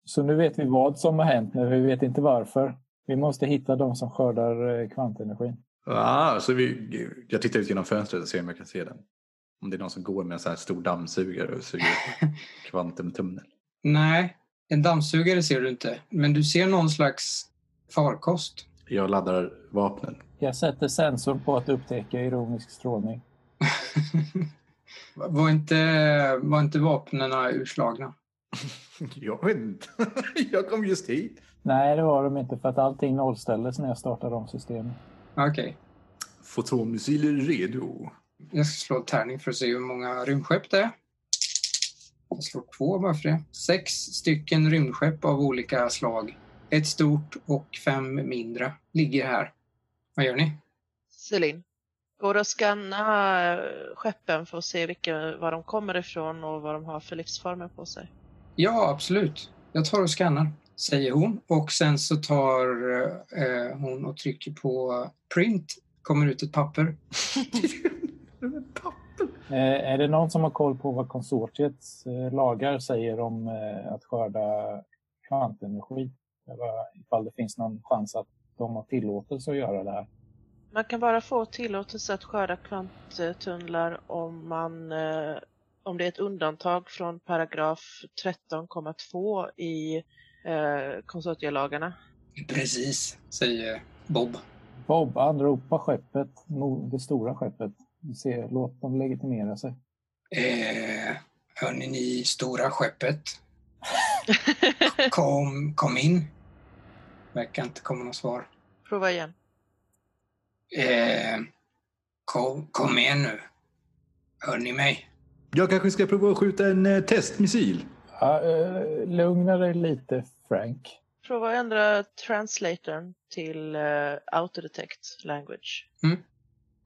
[SPEAKER 3] Så nu vet vi vad som har hänt, men vi vet inte varför. Vi måste hitta de som skördar eh, kvantenergin.
[SPEAKER 1] Ah, så vi, jag tittar ut genom fönstret och ser om jag kan se den. Om det är någon som går med en sån här stor dammsugare och suger upp kvantumtunnel.
[SPEAKER 4] Nej, en dammsugare ser du inte. Men du ser någon slags farkost.
[SPEAKER 1] Jag laddar vapnen.
[SPEAKER 3] Jag sätter sensor på att upptäcka ironisk strålning.
[SPEAKER 4] Var inte, var inte vapnena urslagna?
[SPEAKER 1] Jag vet inte. Jag kom just hit.
[SPEAKER 3] Nej, det var de inte för att allting nollställdes när jag startade om systemet.
[SPEAKER 4] Okej,
[SPEAKER 1] Fotonmissiler redo.
[SPEAKER 4] jag ska slå tärning för att se hur många rymdskepp det är. Jag slår två bara för det. Sex stycken rymdskepp av olika slag. Ett stort och fem mindre ligger här. Vad gör ni?
[SPEAKER 2] Celine, går det att scanna eh, skeppen för att se vilka, var de kommer ifrån och vad de har för livsformer på sig?
[SPEAKER 4] Ja, absolut. Jag tar och skannar, säger hon. Och sen så tar eh, hon och trycker på print. kommer ut ett papper.
[SPEAKER 3] Eh, är det någon som har koll på vad konsortiets eh, lagar säger om eh, att skörda kvantenergi? Eller ifall det finns någon chans att de har tillåtelse att göra det här.
[SPEAKER 2] Man kan bara få tillåtelse att skörda kvanttunnlar om man eh, om det är ett undantag från paragraf 13,2 i eh, konsortielagarna.
[SPEAKER 4] Precis, säger Bob.
[SPEAKER 3] Bob, anropa skeppet, mo- det stora skeppet. Se, låt dem legitimera sig.
[SPEAKER 4] Eh, hörni, ni stora skeppet. Kom, kom in. Verkar inte komma något svar.
[SPEAKER 2] Prova igen.
[SPEAKER 4] Eh, kom, kom igen nu. Hör ni mig?
[SPEAKER 1] Jag kanske ska prova att skjuta en eh, testmissil.
[SPEAKER 3] Ja, eh, lugna dig lite, Frank.
[SPEAKER 2] Prova att ändra translatorn till eh, autodetect language.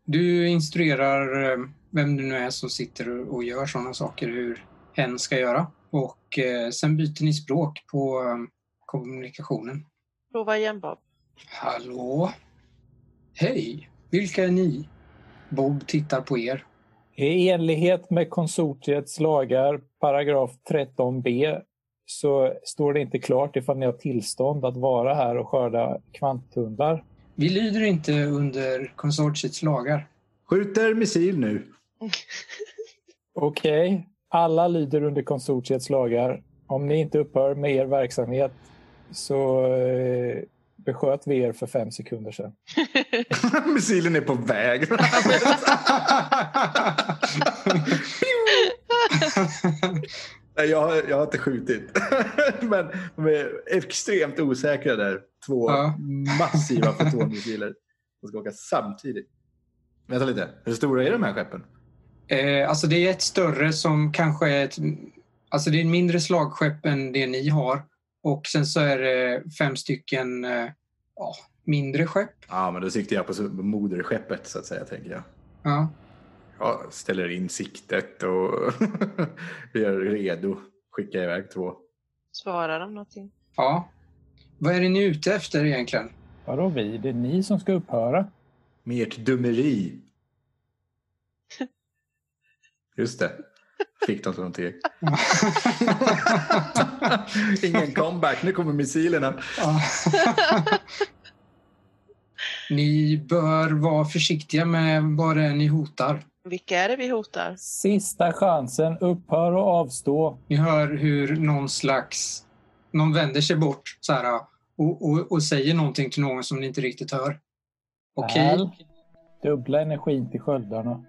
[SPEAKER 4] Du instruerar eh, vem det nu är som sitter och- och gör sådana saker, hur hen ska göra. Och eh, sen byter ni språk på eh, kommunikationen.
[SPEAKER 2] Prova igen Bob.
[SPEAKER 4] Hallå? Hej, vilka är ni? Bob tittar på er.
[SPEAKER 3] I enlighet med konsortiets lagar, paragraf 13b, så står det inte klart ifall ni har tillstånd att vara här och skörda kvanttundlar.
[SPEAKER 4] Vi lyder inte under konsortiets lagar.
[SPEAKER 1] Skjuter missil nu.
[SPEAKER 3] Okej, alla lyder under konsortiets lagar. Om ni inte upphör med er verksamhet så eh, besköt vi er för fem sekunder sedan.
[SPEAKER 1] Missilen är på väg. Nej, jag, har- jag har inte skjutit. Men de är extremt osäkra där. Två
[SPEAKER 4] Ja.
[SPEAKER 1] massiva fotonmissiler som ska åka samtidigt. Vänta lite, hur stora är de här skeppen?
[SPEAKER 4] Eh, alltså det är ett större som kanske är ett... Alltså det är ett mindre slagskepp än det ni har. Och sen så är det fem stycken eh, ja, mindre skepp.
[SPEAKER 1] Ja, men då siktar jag på så- moderskeppet så att säga, tänker jag.
[SPEAKER 4] Ja.
[SPEAKER 1] Jag ställer in siktet och gör redo. Skickar iväg två.
[SPEAKER 2] Svarar de någonting?
[SPEAKER 4] ja. Vad är det ni är ute efter egentligen?
[SPEAKER 3] Vadå vi? Det är ni som ska upphöra.
[SPEAKER 1] Med ert dummeri. Just det. Fick de som teg. Ingen comeback. Nu kommer missilerna.
[SPEAKER 4] Ja. ni bör vara försiktiga med vad det är ni hotar.
[SPEAKER 2] Vilka är det vi hotar?
[SPEAKER 3] Sista chansen. Upphör och avstå.
[SPEAKER 4] Ni hör hur någon slags... Någon vänder sig bort så här, och, och, och säger någonting till någon som ni inte riktigt hör. Okej.
[SPEAKER 3] Väl, Dubbla energin till sköldarna.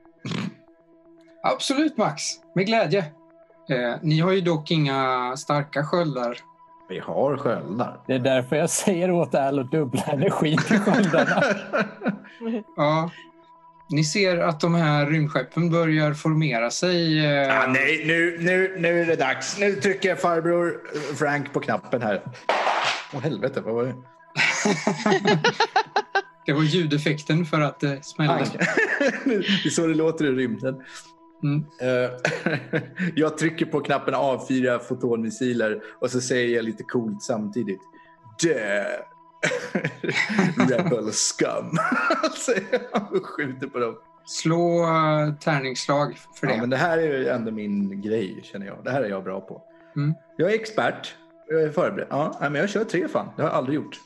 [SPEAKER 4] Absolut Max, med glädje. Eh, ni har ju dock inga starka sköldar.
[SPEAKER 1] Vi har sköldar.
[SPEAKER 3] Det är därför jag säger åt Al att dubbla energin till sköldarna.
[SPEAKER 4] Ja. Ni ser att de här rymdskeppen börjar formera sig. eh,
[SPEAKER 1] ah, nej, nu, nu, nu är det dags. Nu trycker farbror eh, Frank på knappen här. Åh helvete, vad var det?
[SPEAKER 4] Det var ljudeffekten för att eh, det smällde.
[SPEAKER 1] Pang. det är så det låter i rymden.
[SPEAKER 4] Mm.
[SPEAKER 1] Eh, jag trycker på knappen avfyra fotonmissiler och så säger jag lite coolt samtidigt. Dö! Rebel scum. Säger jag och skjuter på dem.
[SPEAKER 4] Slå eh, tärningsslag för det.
[SPEAKER 1] Ja, men det här är ju ändå min grej känner jag. Det här är jag bra på.
[SPEAKER 4] Mm.
[SPEAKER 1] Jag är expert. Jag är förberedd. Ja, nej, men jag kör tre fan. Det har jag aldrig gjort.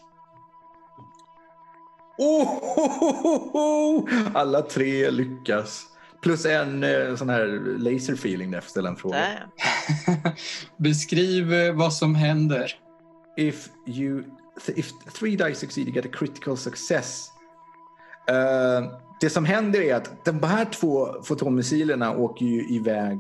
[SPEAKER 1] Oh, Alla tre lyckas. Plus en eh, sån här laser feeling när jag får ställa en fråga.
[SPEAKER 2] Damn.
[SPEAKER 4] Beskriv eh, vad som händer.
[SPEAKER 1] if you th- if three die succeed you get a critical success. Eh, det som händer är att de här två fotonmissilerna åker ju iväg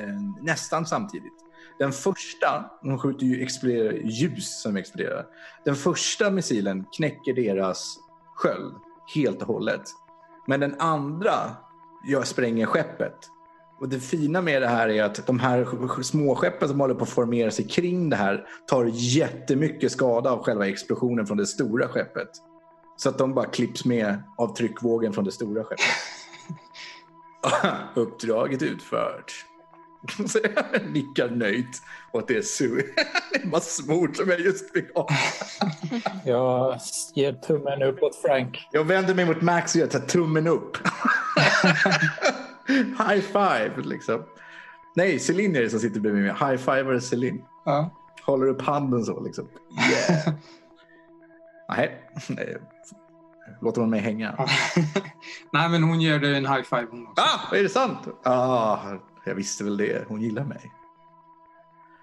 [SPEAKER 1] eh, nästan samtidigt. Den första, de skjuter ju exploderar, ljus som exploderar. Den första missilen knäcker deras sköld helt och hållet. Men den andra gör, spränger skeppet. Och det fina med det här är att de här sj- småskeppen som håller på att formera sig kring det här tar jättemycket skada av själva explosionen från det stora skeppet. Så att de bara klipps med av tryckvågen från det stora skeppet. Uppdraget utfört. Så jag nickar nöjt åt det su- massmord som jag just fick av.
[SPEAKER 3] Jag ger tummen upp åt Frank.
[SPEAKER 1] Jag vänder mig mot Max och jag tar tummen upp. High five liksom. Nej, Celine är det som sitter bredvid mig. High fiver Celine.
[SPEAKER 4] Ja.
[SPEAKER 1] Håller upp handen så liksom. Yeah. Nej, nej. Låter hon mig hänga?
[SPEAKER 4] Nej, men hon ger dig en high five. hon också.
[SPEAKER 1] Ah, är det sant? Ah, jag visste väl det. Hon gillar mig.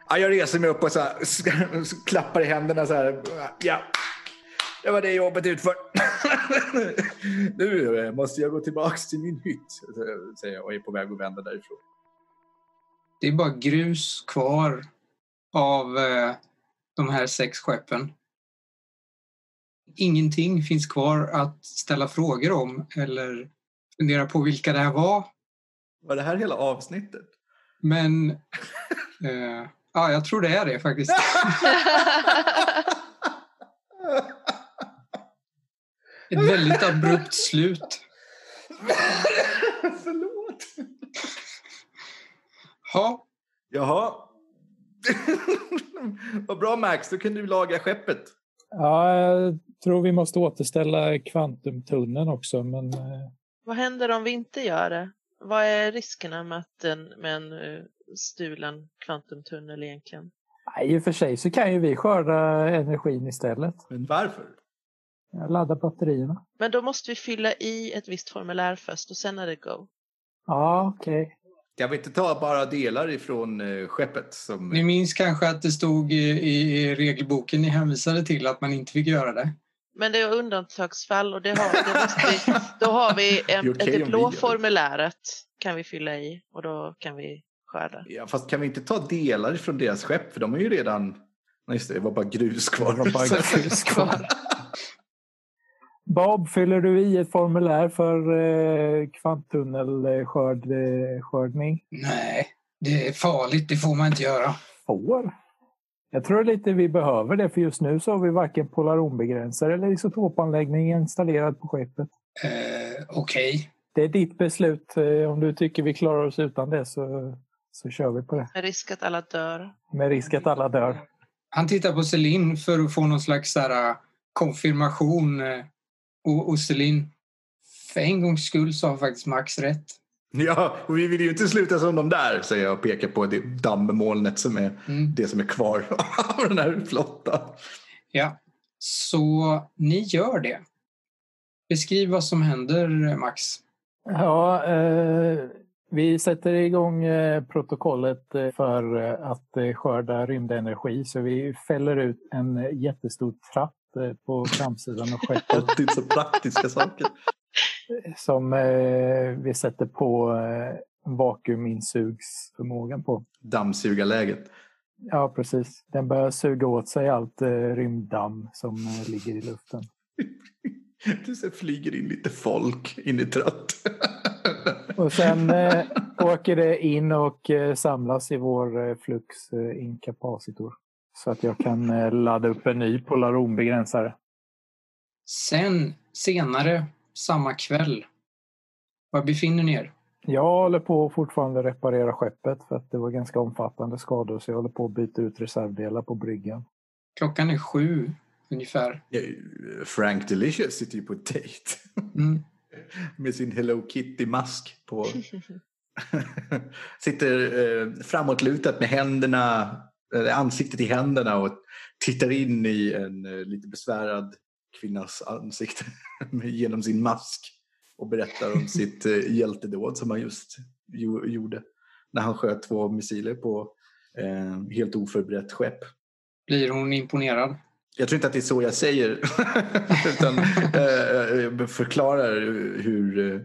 [SPEAKER 1] Ah, jag reser mig upp och så här, klappar i händerna så här. Ja, det var det jobbet utför. nu eh, måste jag gå tillbaks till min hytt, säger jag och är på väg att vända därifrån.
[SPEAKER 4] Det är bara grus kvar av eh, de här sex skeppen. Ingenting finns kvar att ställa frågor om eller fundera på vilka det här var.
[SPEAKER 1] Var det här hela avsnittet?
[SPEAKER 4] Men eh, ja, jag tror det är det faktiskt. Ett väldigt abrupt slut.
[SPEAKER 1] Förlåt.
[SPEAKER 4] Ja,
[SPEAKER 1] Jaha. Vad bra Max, då kan du laga skeppet.
[SPEAKER 3] Ja, jag tror vi måste återställa kvantumtunneln också, men eh,
[SPEAKER 2] Vad händer om vi inte gör det? Vad är riskerna med, att en, med en eh, stulen kvantumtunnel egentligen?
[SPEAKER 3] nej, i och för sig så kan ju vi skörda energin istället.
[SPEAKER 1] Men varför?
[SPEAKER 3] Jag laddar batterierna.
[SPEAKER 2] Men då måste vi fylla i ett visst formulär först och sen är det go.
[SPEAKER 3] Ja, okej.
[SPEAKER 1] Jag vill inte ta bara delar ifrån eh, skeppet. Som...
[SPEAKER 4] Ni minns kanske att det stod i, i i regelboken ni hänvisade till att man inte fick göra det.
[SPEAKER 2] Men det är undantagsfall och det har, det måste vi, då har vi
[SPEAKER 1] Det är
[SPEAKER 2] en,
[SPEAKER 1] okej om vi
[SPEAKER 2] det blå
[SPEAKER 1] gör det.
[SPEAKER 2] formuläret kan vi fylla i och då kan vi skörda.
[SPEAKER 1] Ja, fast kan vi inte ta delar ifrån deras skepp? För de är ju redan... Nej, just det, det var bara grus kvar.
[SPEAKER 6] Det var bara grus
[SPEAKER 2] kvar.
[SPEAKER 3] Bob, fyller du i ett formulär för eh, kvanttunnelskördning? Eh, skördning?
[SPEAKER 4] Nej, det är farligt. Det får man inte göra.
[SPEAKER 3] Får? Jag tror lite vi behöver det, för just nu så har vi varken polaronbegränsare eller isotopanläggning installerad på skeppet.
[SPEAKER 4] Eh, Okej.
[SPEAKER 3] Det är ditt beslut. Eh, Om du tycker vi klarar oss utan det så, så kör vi på det.
[SPEAKER 2] Med risk att alla dör.
[SPEAKER 3] Med risk att alla dör.
[SPEAKER 4] Han tittar på Celine för att få någon slags så här, äh, konfirmation. eh, Och, och Celine, för en gångs skull så har faktiskt Max rätt.
[SPEAKER 1] Ja, och vi vill ju inte sluta som de där, säger jag och pekar på det dammmolnet som är
[SPEAKER 4] Mm.
[SPEAKER 1] det som är kvar av den här flottan.
[SPEAKER 4] Ja, så ni gör det. Beskriv vad som händer, Max.
[SPEAKER 3] Ja, eh, vi sätter igång eh, protokollet eh, för eh, att eh, skörda rymdenergi. Så vi fäller ut en eh, jättestor tratt eh, på framsidan av skeppet
[SPEAKER 1] Alltid så praktiska saker.
[SPEAKER 3] som eh, vi sätter på eh, vakuuminsugsförmågan på.
[SPEAKER 1] Dammsugarläget.
[SPEAKER 3] Ja, precis. Den börjar suga åt sig allt eh, rymddamm som eh, ligger i luften.
[SPEAKER 1] Du ser flyger in lite folk in i trött.
[SPEAKER 3] Och sen eh, åker det in och eh, samlas i vår eh, flux eh, incapacitor. Så att jag kan eh, ladda upp en ny polaronbegränsare.
[SPEAKER 4] Sen, senare, samma kväll. Var befinner ni er?
[SPEAKER 3] Jag håller på att fortfarande reparera skeppet för att det var ganska omfattande skador så jag håller på att byta ut reservdelar på bryggan.
[SPEAKER 4] Klockan är sju, ungefär.
[SPEAKER 1] Frank Delicious sitter ju på dejt
[SPEAKER 4] Mm.
[SPEAKER 1] med sin Hello Kitty-mask på. sitter eh, framåtlutat med händerna, eller ansiktet i händerna och tittar in i en eh, lite besvärad kvinnas ansikte med- genom sin mask och berättar om sitt eh, hjältedåd som han just jo- gjorde när han sköt två missiler på eh, helt oförberett skepp.
[SPEAKER 4] Blir hon imponerad?
[SPEAKER 1] Jag tror inte att det är så jag säger. Utan eh, jag förklarar hur, eh,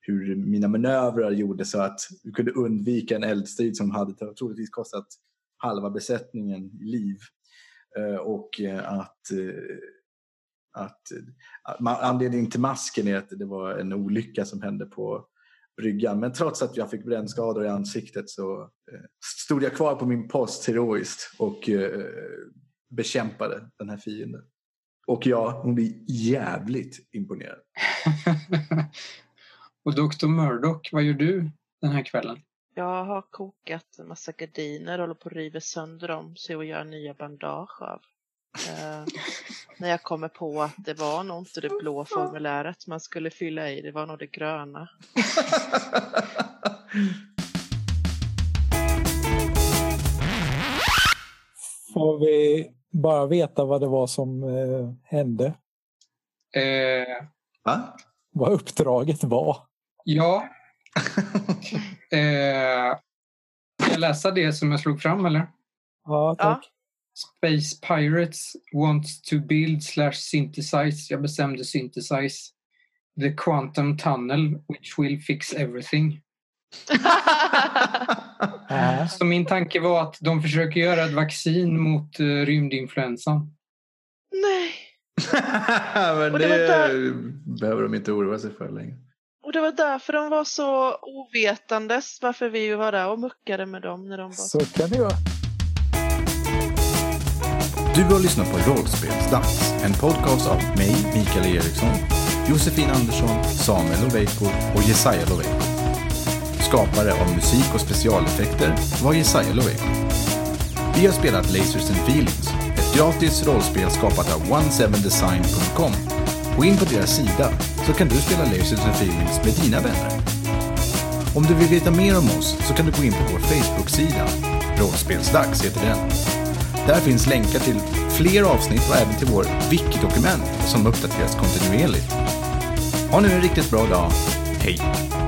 [SPEAKER 1] hur mina manövrar gjorde så att vi kunde undvika en eldstrid som hade troligtvis kostat halva besättningen liv. Eh, och eh, att, eh, att, eh, att man, anledningen till masken är att det var en olycka som hände på bryggan. Men trots att jag fick brännskador i ansiktet så eh, stod jag kvar på min post heroiskt och eh, bekämpade den här fienden. Och ja, hon blir jävligt imponerad.
[SPEAKER 4] Och Dr. Murdoch, vad gör du den här kvällen?
[SPEAKER 2] Jag har kokat en massa gardiner och håller på att riva sönder dem så jag gör nya bandage av. Eh, när jag kommer på att det var nog inte det blå formuläret man skulle fylla i, det var nog det gröna.
[SPEAKER 3] Får vi bara veta vad det var som eh, hände?
[SPEAKER 4] Eh,
[SPEAKER 1] Va?
[SPEAKER 3] Vad uppdraget var?
[SPEAKER 4] ja. eh, ska jag läsa det som jag slog fram, eller?
[SPEAKER 3] Ja, tack.
[SPEAKER 4] Space Pirates wants to build slash synthesize. Jag bestämde synthesize. The quantum tunnel which will fix everything.
[SPEAKER 3] Äh.
[SPEAKER 4] Så min tanke var att de försöker göra ett vaccin mot eh, rymdinfluensan.
[SPEAKER 2] Nej!
[SPEAKER 1] Men
[SPEAKER 2] Och
[SPEAKER 1] det,
[SPEAKER 2] det var
[SPEAKER 1] behöver de inte oroa sig för längre.
[SPEAKER 2] Och det var därför de var så ovetandes varför vi var där och muckade med dem när de var
[SPEAKER 3] Så kan det ju vara.
[SPEAKER 6] Du har lyssnat på Rollspelsdags, en podcast av mig, Mikael Eriksson, Josefin Andersson, Samuel Loveiko och Jesaja Loveiko. Skapare av musik och specialeffekter var Jesaja Loveiko. Vi har spelat Lasers and Feelings, ett gratis rollspel skapat av 17design.com. Gå in på deras sida så kan du spela Lasers and Feelings med dina vänner. Om du vill veta mer om oss så kan du gå in på vår Facebook-sida. Rollspelsdags heter den.
[SPEAKER 1] Där finns länkar till fler avsnitt och även till vår wiki-dokument som uppdateras kontinuerligt. Ha nu en riktigt bra dag. Hej!